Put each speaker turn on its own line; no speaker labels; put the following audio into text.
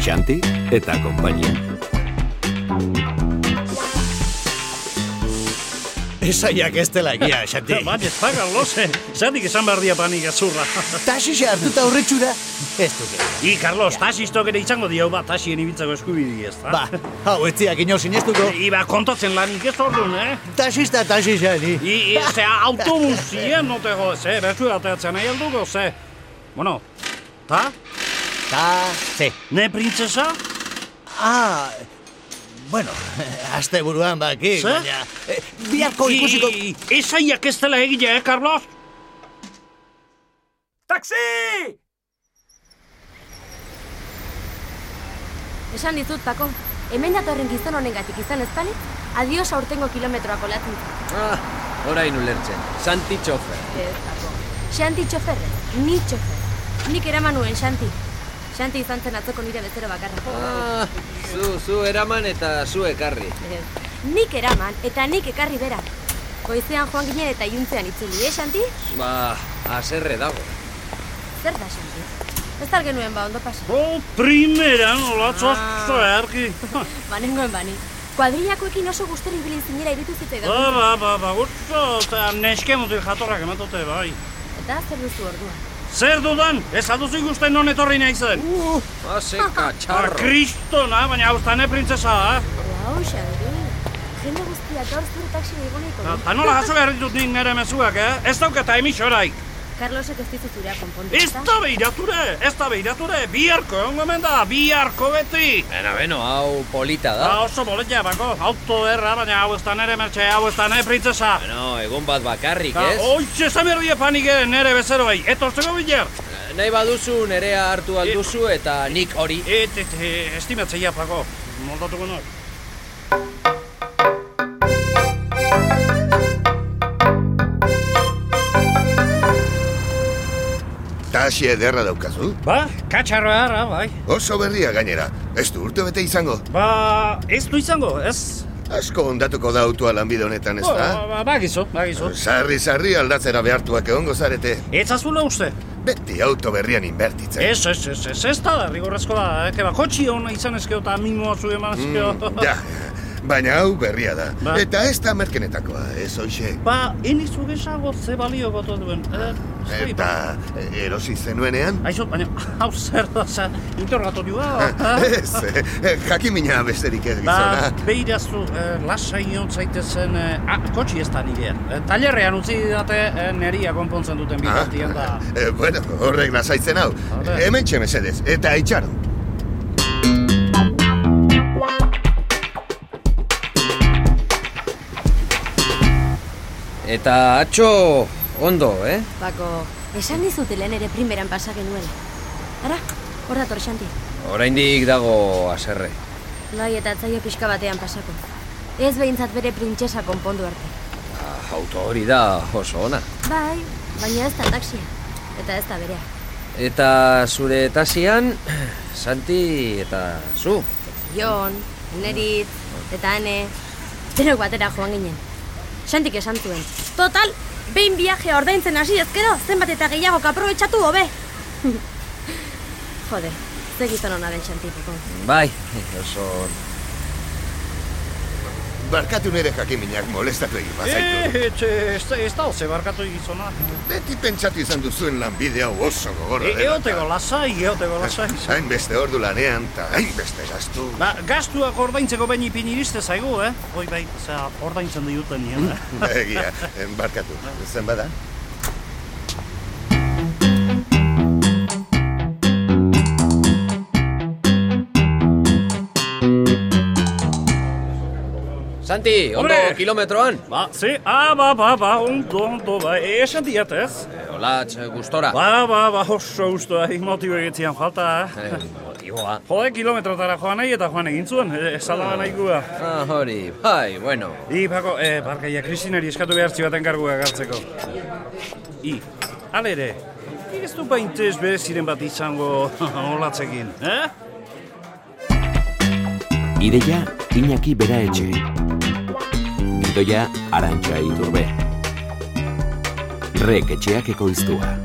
Santi eta konpainia.
Esaiak ez dela egia, Xanti.
Bat, ez paga, lose. Zatik esan behar dia panik azurra.
Tasi hartuta horretxura, ez duke.
I, Carlos, tasistok ere izango dio, ba, tasien ibiltzako eskubidi ez,
Ba, hau etziak ino sinestuko.
Iba, kontatzen lanik ez orduan, eh?
Tasista tasisani.
I, i ze autobusien notego, ze, bezu ateatzen eh? nahi helduko, ze. Bueno, ta,
Ta, ze.
ne printzesa?
Ah, bueno, aste buruan baki,
Ze?
baina... eh, Biharko ikusiko...
I, esaiak ez dela egia, eh, Carlos?
Taxi!
Esan dizut, Pako, hemen datorren gizon honengatik izan ez balitz, adios aurtengo kilometroako latzen.
Ah, orain ulertzen. Santi txofer.
Ez, Pako. Xanti txofer, ni txofer. Nik eraman nuen, Xanti. Xanti izan zen atzoko nire bezero bakarra.
Ah, zu, zu eraman eta zu ekarri.
Ez. Nik eraman, eta nik ekarri bera. Goizean joan ginen eta iluntzean itzuli, eh, Xanti?
Ba, aserre dago.
Zer da, Xanti? Ez tal genuen ba, ondo pasa.
Bo, primeran, olatzo
Ah.
asko erki.
Banengoen bani. ba, Kuadrillakoekin oso guztori ibili zinera irutu zitzaidan.
Ba, ba, ba, ba, gutzo, eta neske mutil jatorrak ematote, bai.
Eta zer duzu orduan.
Zer dudan, ez aduzu ikusten non etorri nahi zen.
Haze
Ba,
katxarro.
kristona, baina hauztane printzesa, eh?
Hau, Xanti. Jende guztia gaur zure taxi egoniko. eh? du.
Eta Ah, nola jaso behar ditut nik nire mezuak, eh? Ez dauketa emixoraik.
Carlosek ez ditu zurea konpondu.
Ez
ezta?
da behirature, ez da behirature, biharko egon gomen da, biharko beti.
Beno, beno, hau polita da.
Ba, oso boletia, bako, auto erra, baina hau ez da nere mertxe, hau ez da nere printzesa. Ba,
Bueno, egun bat bakarrik,
Eta,
ez?
oitxe zamerdia panike nere bezeroei, etortzeko bilar.
Nahi baduzu nerea hartu alduzu eta nik hori.
Et, et, e, estimatzea, Pako. Moldatuko nahi.
Tasi ederra daukazu?
Ba, katxarroa ara, bai.
Oso berria gainera, ez du urte bete izango.
Ba, ez du izango, ez?
Asko ondatuko da autua lanbide honetan, ez
Ba,
da? Bai.
ba, bagizu, bagizu.
Sarri, sarri aldatzera behartuak egongo zarete.
Ez azula uste.
Beti auto berrian inbertitzen.
Ez, ez, ez, ez, ez da, rigorrezko da. Eke bakotxi hona izan ezkeo eta mimoa zu eman ezkeo.
Mm, Ja, baina hau berria da.
Ba.
Eta ez da merkenetakoa, ez hoxe.
Ba, enizu gesago ze balio goto duen. Eh, zui,
Eta eh, erosi zenuenean?
ba- Aizu, baina, hau zer da, za, interrogatorioa. eh?
Ez, eh, jakimina besterik ez
Ba,
gizona.
behirazu, eh, lasai hon zaitezen, eh, ah, kotxi ez da nire. Eh, tailerrean utzi didate eh, neria konpontzen duten
Ah,
bitartien da.
eh, bueno, horrek lasaitzen hau.
Ba, Horrek.
Hemen mesedez, eta itxaron.
Eta atxo ondo, eh?
Pako, esan dizute lehen ere primeran pasa genuela. Ara, hor dator Xanti.
Oraindik dago aserre.
Bai, eta atzaio pixka batean pasako. Ez behintzat bere printzesa konpondu arte.
Ah, Auto hori da oso ona.
Bai, baina ez da taxia. Eta ez da berea.
Eta zure tasian, Santi eta zu.
Jon, Nerit, eta Ane, denok batera joan ginen. Xantik esan zuen. Total, behin viajea ordaintzen hasi ezkero, zenbat eta gehiago aprobetxatu hobe. Jode, ze gizon hona den Xantipeko.
Bai, oso
Barkatu nire jakiminak molestatu egin bazaitu.
Eh, etxe, ez, da- ez da, ze barkatu gizona.
Beti pentsatu izan duzuen lanbide hau oso gogorra
E, eh? eoteko lasai, eotego lasai.
Hain beste ordu lanean eta hain beste gastu.
Ba, gastuak ordaintzeko bain ipin iriste zaigu, eh? Hoi bai, zera, ordaintzen diuten nien. eh?
Egia, em, barkatu. Zen bada?
Santi, ondo
Hombre!
kilometroan?
ba, ze, ah, ba, ba, ba, ondo, ondo, ba, e, esan diat ez?
Eh, Olatz, eh, gustora.
Ba, ba, ba, oso ustoa, motibo egitzean falta, eh?
Eh, motiboa.
Jode, kilometrotara joan nahi eta joan egin zuen, e, esalaba nahikoa.
Ah, hori, bai, bueno.
I, Pako, e, barkaia, Kristinari eskatu behar baten karguak hartzeko. I, alere, nik ez du baintez bereziren bat izango olatzekin, eh?
Ideia Iñaki Bera Etxe. Gidoia Arantxa Iturbe. Rek etxeak ekoiztua.